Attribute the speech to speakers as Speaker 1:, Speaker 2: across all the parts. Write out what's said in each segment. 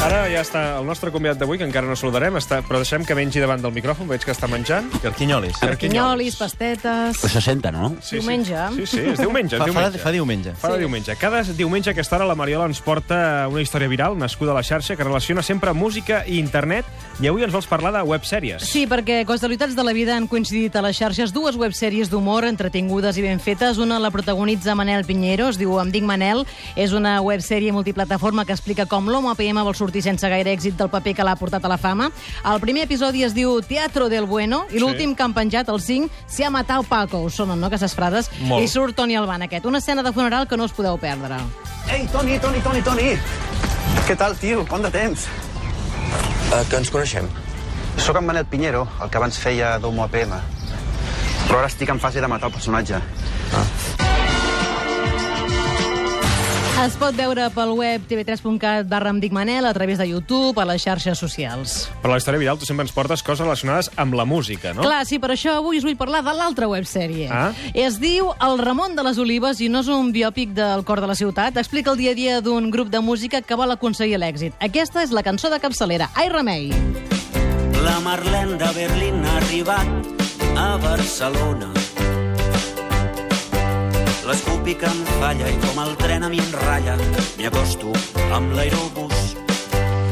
Speaker 1: Ara ja està el nostre convidat d'avui, que encara no saludarem, està... però deixem que mengi davant del micròfon, veig que està menjant.
Speaker 2: Carquinyolis.
Speaker 1: Carquinyolis.
Speaker 3: Carquinyolis, pastetes...
Speaker 4: Però se senten, no?
Speaker 1: Sí, sí.
Speaker 3: Diumenge.
Speaker 1: Sí, sí, és diumenge, és
Speaker 2: Fa, fa, de,
Speaker 1: diumenge.
Speaker 2: fa diumenge.
Speaker 1: Fa de diumenge. Cada diumenge a aquesta hora la Mariola ens porta una història viral nascuda a la xarxa que relaciona sempre música i internet i avui ens vols parlar de websèries.
Speaker 3: Sí, perquè casualitats de la vida han coincidit a les xarxes dues websèries d'humor entretingudes i ben fetes. Una la protagonitza Manel Pinheiro, es diu Em dic Manel. És una websèrie multiplataforma que explica com l'home PM vol sortir sense gaire èxit del paper que l'ha portat a la fama. El primer episodi es diu Teatro del Bueno i l'últim que han penjat, el 5, Se ha matat Paco. Us sonen, no, aquestes frases?
Speaker 1: Molt.
Speaker 3: I surt Toni Alban, aquest. Una escena de funeral que no us podeu perdre.
Speaker 5: Ei, Toni, Toni, Toni, Toni! Què tal, tio? Quant de temps?
Speaker 6: Eh, que ens coneixem.
Speaker 5: Sóc en Manet Pinheiro, el que abans feia d'Homo APM. Però ara estic en fase de matar el personatge.
Speaker 3: Es pot veure pel web tv3.cat barra Em dic Manel, a través de YouTube, a les xarxes socials.
Speaker 1: Però a la història viral tu sempre ens portes coses relacionades amb la música, no?
Speaker 3: Clar, sí, per això avui us vull parlar de l'altra websèrie.
Speaker 1: Oh. Ah.
Speaker 3: Es diu El Ramon de les Olives i no és un biòpic del cor de la ciutat. Explica el dia a dia d'un grup de música que vol aconseguir l'èxit. Aquesta és la cançó de capçalera, Ai Remei.
Speaker 7: La Marlene de Berlín ha arribat a Barcelona. L'escupi que em falla i com el tren a mi em ratlla, m'hi acosto amb l'aerobús.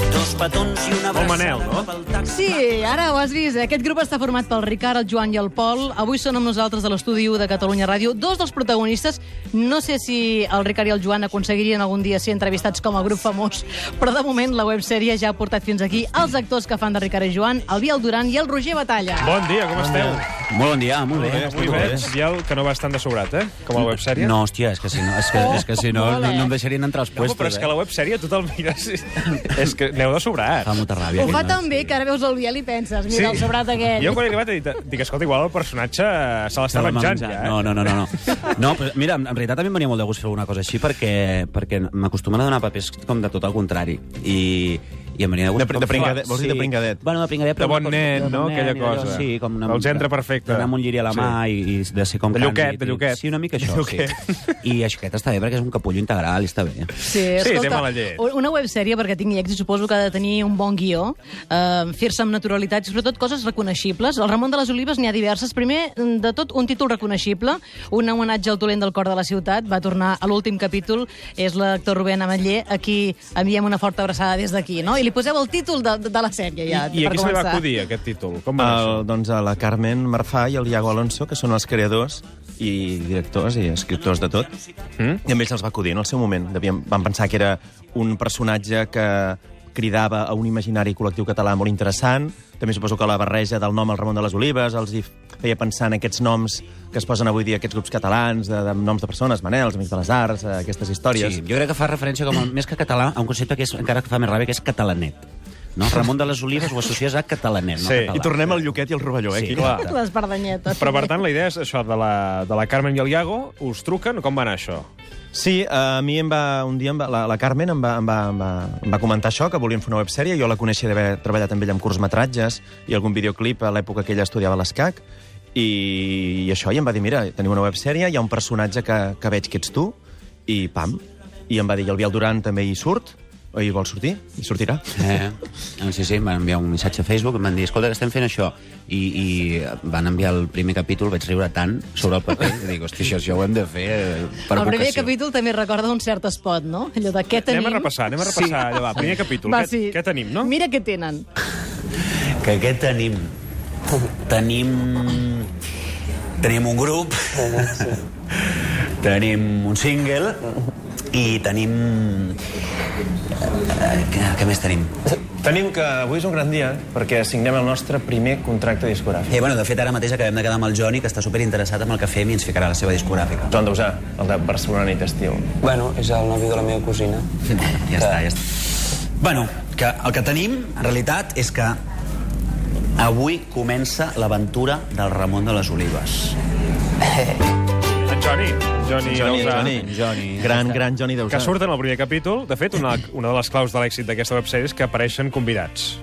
Speaker 7: Dos petons i una
Speaker 1: El
Speaker 7: abraçada
Speaker 1: Manel, no?
Speaker 7: cap al taxi.
Speaker 3: Sí, ara ho has vist. eh? Aquest grup està format pel Ricard, el Joan i el Pol. Avui són amb nosaltres a l'estudi 1 de Catalunya Ràdio. Dos dels protagonistes, no sé si el Ricard i el Joan aconseguirien algun dia ser entrevistats com a grup famós, però de moment la websèrie ja ha portat fins aquí els actors que fan de Ricard i Joan, el Biel Duran i el Roger Batalla.
Speaker 1: Bon dia, com esteu?
Speaker 4: Molt bon dia, molt bé.
Speaker 1: Avui veig, Biel, que no vas tan de sobrat, eh? Com a websèrie.
Speaker 4: No, hòstia, és que si no, és que, és que si no,
Speaker 3: Molt bé.
Speaker 4: no, no em deixarien entrar als
Speaker 1: No,
Speaker 4: puestos. eh?
Speaker 1: però és que la websèrie tu te'l mires... i- és que aneu de sobrat.
Speaker 4: Fa molta ràbia.
Speaker 3: Ho fa
Speaker 4: aquest noi.
Speaker 3: tan bé que ara veus el Biel i penses, mira, sí. el sobrat aquell.
Speaker 1: Jo quan he arribat he dit, dic, escolta, igual el personatge se l'està
Speaker 4: No,
Speaker 1: menjant,
Speaker 4: menjar.
Speaker 1: ja. eh?
Speaker 4: No, no, no, no. no. no però, mira, en en realitat a mi em venia molt de gust fer una cosa així perquè, perquè m'acostumen a donar papers com de tot el contrari. I, i em venia de gust...
Speaker 2: De pr- de pringade- vols dir de pringadet?
Speaker 4: Sí. Bueno, de pringadet,
Speaker 1: De
Speaker 4: però...
Speaker 1: bon
Speaker 4: una cosa-
Speaker 1: nen,
Speaker 4: de bon
Speaker 1: no?
Speaker 4: nen
Speaker 1: Aquella
Speaker 4: i d'allò,
Speaker 1: cosa.
Speaker 4: Sí, com una
Speaker 1: Del
Speaker 4: mica-
Speaker 1: gendre perfecte.
Speaker 4: D'anar amb un lliri a la mà i, i de ser com...
Speaker 1: De
Speaker 4: càndid.
Speaker 1: Lluquet, de Lluquet.
Speaker 4: Sí, una mica això,
Speaker 1: De
Speaker 4: sí. I això, aquest està bé perquè és un capullo integral i està bé.
Speaker 3: Sí,
Speaker 1: Sí, té
Speaker 3: escolta,
Speaker 1: mala llet.
Speaker 3: una websèrie, perquè tingui èxit, suposo que ha de tenir un bon guió, eh, fer-se amb naturalitat i sobretot coses reconeixibles. El Ramon de les Olives n'hi ha diverses. Primer, mm, de tot, un títol reconeixible, un homenatge al dolent del cor de la ciutat. Va tornar a l'últim capítol, és l'actor Rubén Ametller, a qui enviem una forta abraçada des d'aquí, no? I li poseu el títol de, de la sèrie, ja,
Speaker 1: I, I
Speaker 3: per
Speaker 1: aquí se li va
Speaker 3: començar.
Speaker 1: acudir, aquest títol. Com va
Speaker 2: El, doncs a la Carmen Marfà i el Iago Alonso, que són els creadors i directors i escriptors de tot. Mm? I a ells els va acudir en el seu moment. Devíem, van pensar que era un personatge que cridava a un imaginari col·lectiu català molt interessant. També suposo que la barreja del nom El Ramon de les Olives els hi feia pensar en aquests noms que es posen avui dia aquests grups catalans, de, de noms de persones, Manel, els Amics de les Arts, eh, aquestes històries.
Speaker 4: Sí, jo crec que fa referència, com a, més que català, a un concepte que és, encara que fa més ràbia, que és catalanet. No? Ramon de les Olives ho associes a catalanet, no
Speaker 1: Sí,
Speaker 4: català.
Speaker 2: Eh, I tornem al Lluquet i al Rovelló, eh?
Speaker 4: Sí,
Speaker 2: aquí.
Speaker 1: clar.
Speaker 3: Les perdanyetes.
Speaker 1: Però, per tant, la idea és això, de la, de la Carmen i el Iago, us truquen, com va anar això?
Speaker 2: Sí, eh, a mi em va, un dia em va, la, la Carmen em va, em, va, em, va, em va comentar això, que volien fer una websèrie. Jo la coneixia d'haver treballat amb ella en curtmetratges i algun videoclip a l'època que ella estudiava a l'escac. I, I això, i em va dir, mira, teniu una websèrie, hi ha un personatge que, que veig que ets tu, i pam. I em va dir, i el Biel Duran també hi surt, o hi vol sortir, i sortirà.
Speaker 4: Eh, sí, sí, em van enviar un missatge a Facebook, em van dir, escolta, que estem fent això. I, I van enviar el primer capítol, vaig riure tant sobre el paper, que dic, hòstia, això, això ho hem de fer eh, per
Speaker 3: el primer
Speaker 4: vocació.
Speaker 3: capítol també recorda un cert espot, no? Allò de què tenim...
Speaker 1: Anem a repassar, anem a repassar, sí. allà va, primer capítol.
Speaker 3: Va,
Speaker 1: què,
Speaker 3: sí.
Speaker 1: què tenim, no?
Speaker 3: Mira què tenen.
Speaker 4: Que què tenim? Tenim... Tenim un grup, tenim un single i tenim... eh, Què, què més tenim?
Speaker 2: Tenim que avui és un gran dia, perquè signem el nostre primer contracte discogràfic.
Speaker 4: Eh, bueno, de fet, ara mateix acabem de quedar amb el Joni, que està superinteressat amb el que fem i ens ficarà a la seva discogràfica.
Speaker 2: Joan Dausà, el de Barcelona nit estiu.
Speaker 6: Bueno, és el nòvio de la meva cosina.
Speaker 4: Ja està, ja està. Bueno, que el que tenim, en realitat, és que avui comença l'aventura del Ramon de les Olives.
Speaker 1: En Johnny. Johnny,
Speaker 2: Johnny,
Speaker 1: Dausà,
Speaker 2: Johnny, Johnny. Gran, gran Johnny Dausà.
Speaker 1: Que surten al primer capítol. De fet, una, una de les claus de l'èxit d'aquesta websèrie és que apareixen convidats.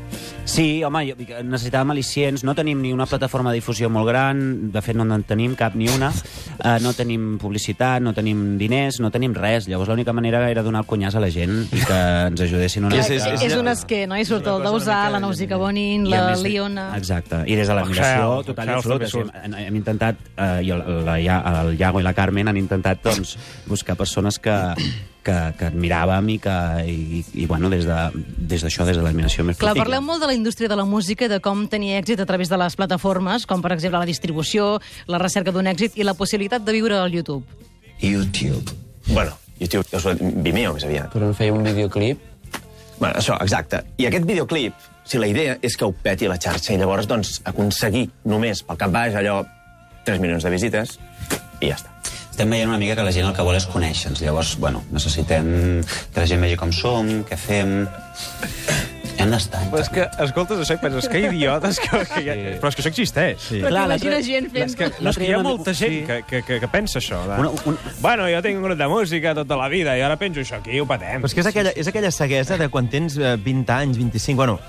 Speaker 4: Sí, home, jo- necessitàvem al·licients. No tenim ni una plataforma de difusió molt gran, de fet no en tenim cap ni una. Uh, no tenim publicitat, no tenim diners, no tenim res. Llavors l'única manera era donar el cunyàs a la gent i que ens ajudessin una
Speaker 2: Que
Speaker 3: És,
Speaker 2: és-
Speaker 4: mica.
Speaker 3: és, és, és un esquer, no? I surt el Dausà, la Nausica Bonin,
Speaker 4: I a
Speaker 3: la
Speaker 4: més de-
Speaker 3: Liona...
Speaker 4: Exacte. I des de l'admiració
Speaker 1: Oxels,
Speaker 4: total i
Speaker 1: Oxels també
Speaker 4: absoluta. Sí,
Speaker 1: surt.
Speaker 4: hem, hem intentat, eh, i el, la, Ia- el Iago i la Carmen han intentat doncs, buscar persones que, que, que admiràvem i que, i, i bueno, des d'això, de, des, d'això, des de l'admiració més
Speaker 3: Clar,
Speaker 4: profunda.
Speaker 3: parleu molt de la indústria de la música i de com tenir èxit a través de les plataformes, com per exemple la distribució, la recerca d'un èxit i la possibilitat de viure al YouTube.
Speaker 6: YouTube.
Speaker 2: Bueno, YouTube, us ho he dit, Vimeo, més aviat.
Speaker 6: Però no feia un videoclip?
Speaker 2: Bueno, això, exacte. I aquest videoclip, si la idea és que ho peti a la xarxa i llavors, doncs, aconseguir només pel cap baix allò 3 milions de visites i ja està.
Speaker 4: Estem veient una mica que la gent el que vol és conèixer-nos. Llavors, bueno, necessitem que la gent vegi com som, què fem... Hem d'estar.
Speaker 1: Però és que escoltes això i penses, que idiotes, que, que ja...
Speaker 4: Sí.
Speaker 1: però és que això existeix. Sí.
Speaker 3: Però
Speaker 4: Clar,
Speaker 3: t'imagines
Speaker 4: l'altre-
Speaker 3: gent fent...
Speaker 1: És que,
Speaker 4: L'altre
Speaker 1: no, és que hi
Speaker 4: dia
Speaker 1: ha
Speaker 4: un
Speaker 1: molta
Speaker 4: amic-
Speaker 1: gent
Speaker 4: sí.
Speaker 1: que, que, que, que pensa això. De...
Speaker 4: Una- un-
Speaker 1: Bueno, jo tinc un grup de música tota la vida i ara penjo això aquí i ho patem.
Speaker 2: Però és que és aquella, és aquella ceguesa de quan tens eh, 20 anys, 25, bueno,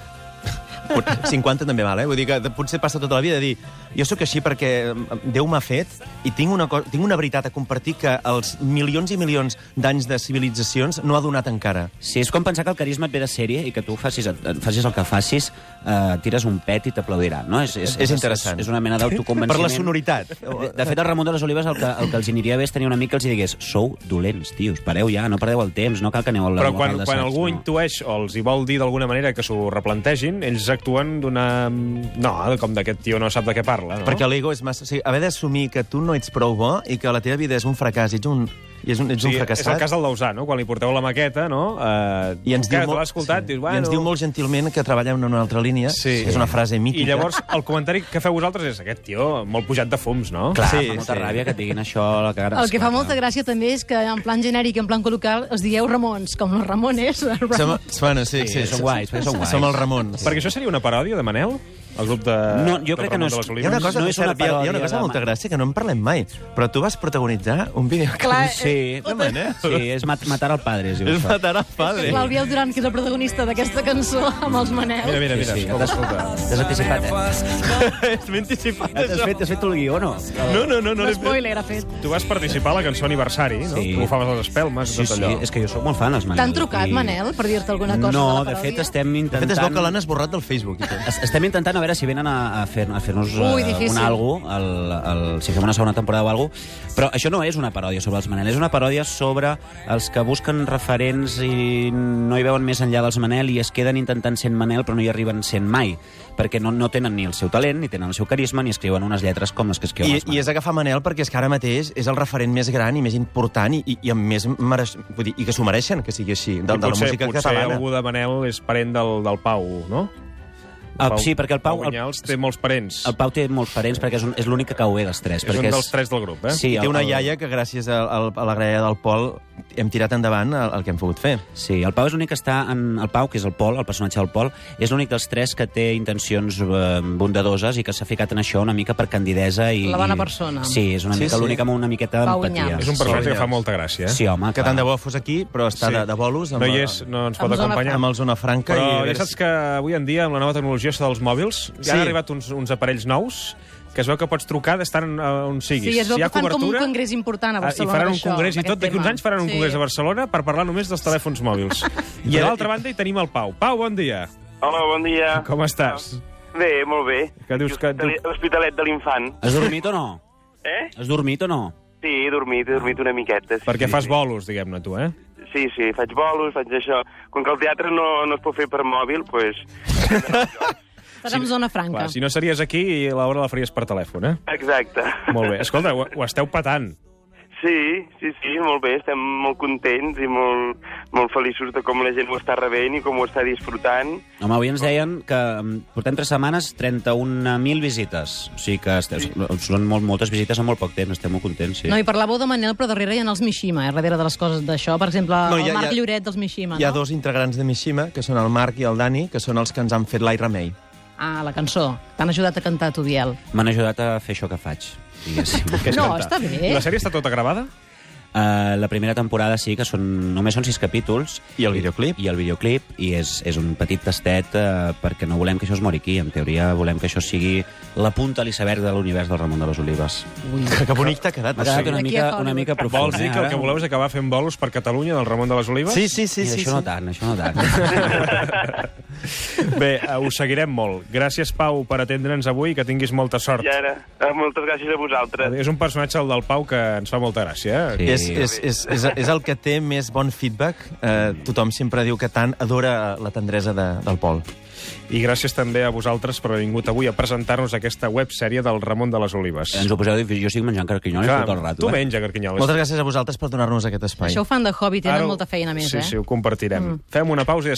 Speaker 2: pot- 50 també val, eh? Vull dir que de- potser passa tota la vida de dir jo sóc així perquè eh, Déu m'ha fet i tinc una, co- tinc una veritat a compartir que els milions i milions d'anys de civilitzacions no ha donat encara.
Speaker 4: Sí, és com pensar que el carisma et ve de sèrie i que tu facis, et, et facis el que facis, eh, tires un pet i t'aplaudirà. No? És, és,
Speaker 2: És interessant.
Speaker 4: És, és una mena
Speaker 2: Per
Speaker 4: d'autoconvenciment.
Speaker 2: la sonoritat.
Speaker 4: De, de fet, el Ramon de les Olives el que, el que els aniria bé és tenir un amic que els hi digués sou dolents, tios, pareu ja, no perdeu el temps, no cal que aneu a la
Speaker 1: Però
Speaker 4: a
Speaker 1: quan,
Speaker 4: l'assaig",
Speaker 1: quan algú
Speaker 4: no.
Speaker 1: intueix o els hi vol dir d'alguna manera que s'ho replantegin, ells actuen d'una... No, com d'aquest tio no sap de què parla, no?
Speaker 2: Perquè l'ego és massa... O sigui, haver d'assumir que tu no ets prou bo i que la teva vida és un fracàs i ets un, i és un, ets
Speaker 1: Sí,
Speaker 2: un
Speaker 1: és el
Speaker 2: fracassat...
Speaker 1: cas del Dausà, no? Quan li porteu la maqueta, no? Uh,
Speaker 2: I ens, diu
Speaker 1: molt...
Speaker 2: molt,
Speaker 1: escoltat, sí. dius, bueno...
Speaker 2: I ens diu molt gentilment que treballa en una altra línia.
Speaker 1: Sí.
Speaker 2: És una frase mítica.
Speaker 1: I llavors el comentari que feu vosaltres és aquest tio molt pujat de fums, no?
Speaker 4: Clar,
Speaker 2: Sí,
Speaker 4: sí, fa molta
Speaker 2: sí.
Speaker 4: sí. ràbia que et diguin això a la cara.
Speaker 3: El que fa
Speaker 4: Esclar,
Speaker 3: molta gràcia també és que en plan genèric, en plan col·local, us digueu Ramons, com els Ramones.
Speaker 2: Som, bueno, sí,
Speaker 4: Sí,
Speaker 2: sí,
Speaker 4: són guais, són guais.
Speaker 2: Som el Ramon. Sí.
Speaker 1: Perquè això seria una paròdia de Manel? El grup de...
Speaker 4: No, jo
Speaker 1: del
Speaker 4: crec que
Speaker 1: Ramon de
Speaker 4: no és-
Speaker 1: les Olives?
Speaker 2: Hi ha una cosa,
Speaker 4: No
Speaker 2: no
Speaker 4: és
Speaker 2: hi
Speaker 4: una
Speaker 2: ha una
Speaker 4: paròdia
Speaker 2: cosa
Speaker 4: de
Speaker 2: de molta
Speaker 4: ma-
Speaker 2: gràcia que no en parlem mai, però tu vas protagonitzar un vídeo
Speaker 3: Clar,
Speaker 4: Sí,
Speaker 2: No, man, eh?
Speaker 4: sí, és mat matar el padre, es diu
Speaker 2: És
Speaker 4: això.
Speaker 2: matar el padre.
Speaker 3: L'Albiol Duran, que és el protagonista d'aquesta cançó amb els Manel.
Speaker 1: Mira, mira, mira.
Speaker 4: Sí, sí,
Speaker 1: escolta,
Speaker 4: t'has t'has anticipat, eh?
Speaker 2: És ben anticipat,
Speaker 4: Has fet, has fet el guió, no?
Speaker 2: No, no, no, no l'he fet.
Speaker 3: L'espoiler ha fet.
Speaker 1: Tu vas participar a la cançó aniversari, no?
Speaker 4: Sí.
Speaker 1: Tu agafaves les espelmes i
Speaker 4: Sí,
Speaker 1: tot
Speaker 4: sí,
Speaker 1: allò.
Speaker 4: és que jo sóc molt fan, els Manel.
Speaker 3: T'han trucat,
Speaker 4: i-
Speaker 3: Manel, per dir-te alguna cosa
Speaker 4: No,
Speaker 3: de la
Speaker 4: de fet,
Speaker 3: paròdia?
Speaker 4: estem
Speaker 2: De
Speaker 4: intentant...
Speaker 2: fet, es veu que l'han esborrat del Facebook. i tot.
Speaker 4: Es- Estem intentant a veure si venen a, a fer- a fer-nos fer
Speaker 3: Ui, difícil.
Speaker 4: un algo, el, el, si fem una segona temporada o algo, però això no és una paròdia sobre els Manel, és una paròdia sobre els que busquen referents i no hi veuen més enllà dels Manel i es queden intentant sent Manel però no hi arriben sent mai, perquè no, no tenen ni el seu talent, ni tenen el seu carisma, ni escriuen unes lletres com les que escriuen
Speaker 2: I,
Speaker 4: els
Speaker 2: I
Speaker 4: Manel.
Speaker 2: és agafar Manel perquè és que ara mateix és el referent més gran i més important i, i, i amb més mereix... Vull dir, i que s'ho mereixen, que sigui així, de,
Speaker 1: I
Speaker 2: de la
Speaker 1: potser,
Speaker 2: música
Speaker 1: potser
Speaker 2: catalana.
Speaker 1: algú de Manel és parent del, del Pau, no?
Speaker 4: Ah, sí, perquè el Pau-
Speaker 1: Pau Vinyals té molts parents.
Speaker 4: El Pau té molts parents perquè és, un, és l'únic que cau bé dels tres.
Speaker 1: és
Speaker 4: perquè
Speaker 1: un dels tres del grup, eh?
Speaker 4: Sí,
Speaker 2: I té una iaia que gràcies a, a, a la graella del Pol hem tirat endavant el, el que hem pogut fer.
Speaker 4: Sí, el Pau és l'únic que està en... El Pau, que és el Pol, el personatge del Pol, és l'únic dels tres que té intencions eh, bondadoses i que s'ha ficat en això una mica per candidesa i...
Speaker 3: La bona
Speaker 4: i-
Speaker 3: persona.
Speaker 4: Sí, és una
Speaker 2: Sí,
Speaker 4: mica
Speaker 2: sí.
Speaker 4: l'únic amb una miqueta
Speaker 3: Pau
Speaker 4: d'empatia.
Speaker 3: Vinyals.
Speaker 1: És un personatge que fa molta gràcia, eh?
Speaker 4: Sí, home,
Speaker 2: Que
Speaker 4: clar.
Speaker 2: tant de bo fos aquí, però
Speaker 1: Sí.
Speaker 2: està sí. de, de bolos.
Speaker 1: No hi és, no ens pot
Speaker 3: Amb zona
Speaker 1: acompanyar.
Speaker 2: Amb el Zona Franca.
Speaker 1: Però
Speaker 2: i,
Speaker 1: ja saps que avui en dia, amb la nova tecnologia això dels mòbils, ja han
Speaker 2: Sí.
Speaker 1: arribat uns, uns aparells nous que es veu que pots trucar d'estar on, on siguis.
Speaker 3: Sí, es veu
Speaker 1: si hi ha
Speaker 3: que fan com un
Speaker 1: cobertura, ah,
Speaker 3: congrés important a Barcelona,
Speaker 1: I faran un
Speaker 3: d'això,
Speaker 1: congrés, i
Speaker 3: d'aquest
Speaker 1: tot d'aquí uns
Speaker 3: tema.
Speaker 1: anys faran un
Speaker 3: Sí.
Speaker 1: congrés a Barcelona per parlar només dels telèfons mòbils. I a
Speaker 2: ara-
Speaker 1: l'altra banda hi tenim el Pau. Pau, bon dia.
Speaker 8: Hola, bon dia.
Speaker 1: Com estàs?
Speaker 8: Bé, molt bé.
Speaker 1: Que dius que-
Speaker 8: Hospitali- L'Hospitalet de l'Infant.
Speaker 4: Has dormit o no?
Speaker 8: Eh?
Speaker 4: Has dormit o no?
Speaker 8: Sí, he dormit, he dormit una miqueta. Sí,
Speaker 1: Perquè
Speaker 8: sí,
Speaker 1: fas
Speaker 8: sí.
Speaker 1: bolos, diguem-ne, tu, eh?
Speaker 8: Sí, sí, faig bolos, faig això. Com que el teatre no, no es pot fer per mòbil, doncs... Pues...
Speaker 3: Estàs en zona franca.
Speaker 1: Clar, si no series aquí i l'hora la faries per telèfon, eh?
Speaker 8: Exacte.
Speaker 1: Molt bé. Escolta, ho, ho esteu patant.
Speaker 8: Sí, sí, sí, molt bé. Estem molt contents i molt, molt feliços de com la gent ho està rebent i com ho està disfrutant.
Speaker 4: Home, avui ens deien que mm, portem 3 setmanes 31.000 visites. O sigui que esteu, són molt, moltes visites en molt poc temps. Estem molt contents, sí.
Speaker 3: No, i parlàveu de Manel, però darrere hi ha els Mishima, eh, darrere de les coses d'això. Per exemple,
Speaker 2: No,
Speaker 3: no,
Speaker 2: hi ha-
Speaker 3: el Marc
Speaker 2: hi ha-
Speaker 3: Lloret dels Mishima,
Speaker 2: hi ha
Speaker 3: no?
Speaker 2: dos integrants de Mishima, que són el Marc i el Dani, que són els que ens han fet l'aire remei.
Speaker 3: Ah, la cançó. T'han ajudat a cantar, tu, Biel.
Speaker 4: M'han ajudat a fer això que faig, diguéssim.
Speaker 1: Que és
Speaker 3: No,
Speaker 1: cantar.
Speaker 3: està bé.
Speaker 1: I La sèrie està tota gravada?
Speaker 4: Eh, Uh, la primera temporada sí que són, només són sis capítols.
Speaker 2: I el videoclip?
Speaker 4: I el videoclip, i és, és un petit tastet uh, perquè no volem que això es mori aquí. En teoria volem que això sigui la punta a l'iceberg de l'univers del Ramon de les Olives.
Speaker 2: Que, que bonic t'ha quedat. eh?
Speaker 4: M'ha
Speaker 2: Ah,
Speaker 4: quedat
Speaker 2: sí.
Speaker 3: Aquí
Speaker 4: una
Speaker 3: a
Speaker 4: mica,
Speaker 3: Hollywood.
Speaker 4: una mica eh? profund,
Speaker 1: Vols dir que el que voleu és acabar fent bolos per Catalunya del Ramon de les Olives?
Speaker 2: Sí, sí, sí.
Speaker 4: Sí,
Speaker 2: sí,
Speaker 4: això
Speaker 2: sí.
Speaker 4: no tant, això no tant.
Speaker 1: Bé, eh, ho seguirem molt. Gràcies, Pau, per atendre'ns avui i que tinguis molta sort.
Speaker 8: I ara, eh, moltes gràcies a vosaltres.
Speaker 1: És un personatge, el del Pau, que ens fa molta gràcia. eh?
Speaker 4: Sí.
Speaker 2: És, és, és, és, és el que té més bon feedback. Eh, tothom sempre diu que tant adora la tendresa de, del Pol.
Speaker 1: I gràcies també a vosaltres per haver vingut avui a presentar-nos aquesta websèrie del Ramon de les Olives.
Speaker 4: Ens ho poseu difícil. Jo estic menjant carquinyoles
Speaker 1: Clar,
Speaker 4: tot el rato.
Speaker 1: tu
Speaker 4: eh?
Speaker 1: menja, Carquinyoles.
Speaker 2: Moltes gràcies a vosaltres per donar-nos aquest espai.
Speaker 3: Això ho fan de hobby, tenen
Speaker 1: Ara ho-
Speaker 3: molta feina més,
Speaker 1: sí,
Speaker 3: eh?
Speaker 1: Sí, ho compartirem. Mm. Fem una pausa i de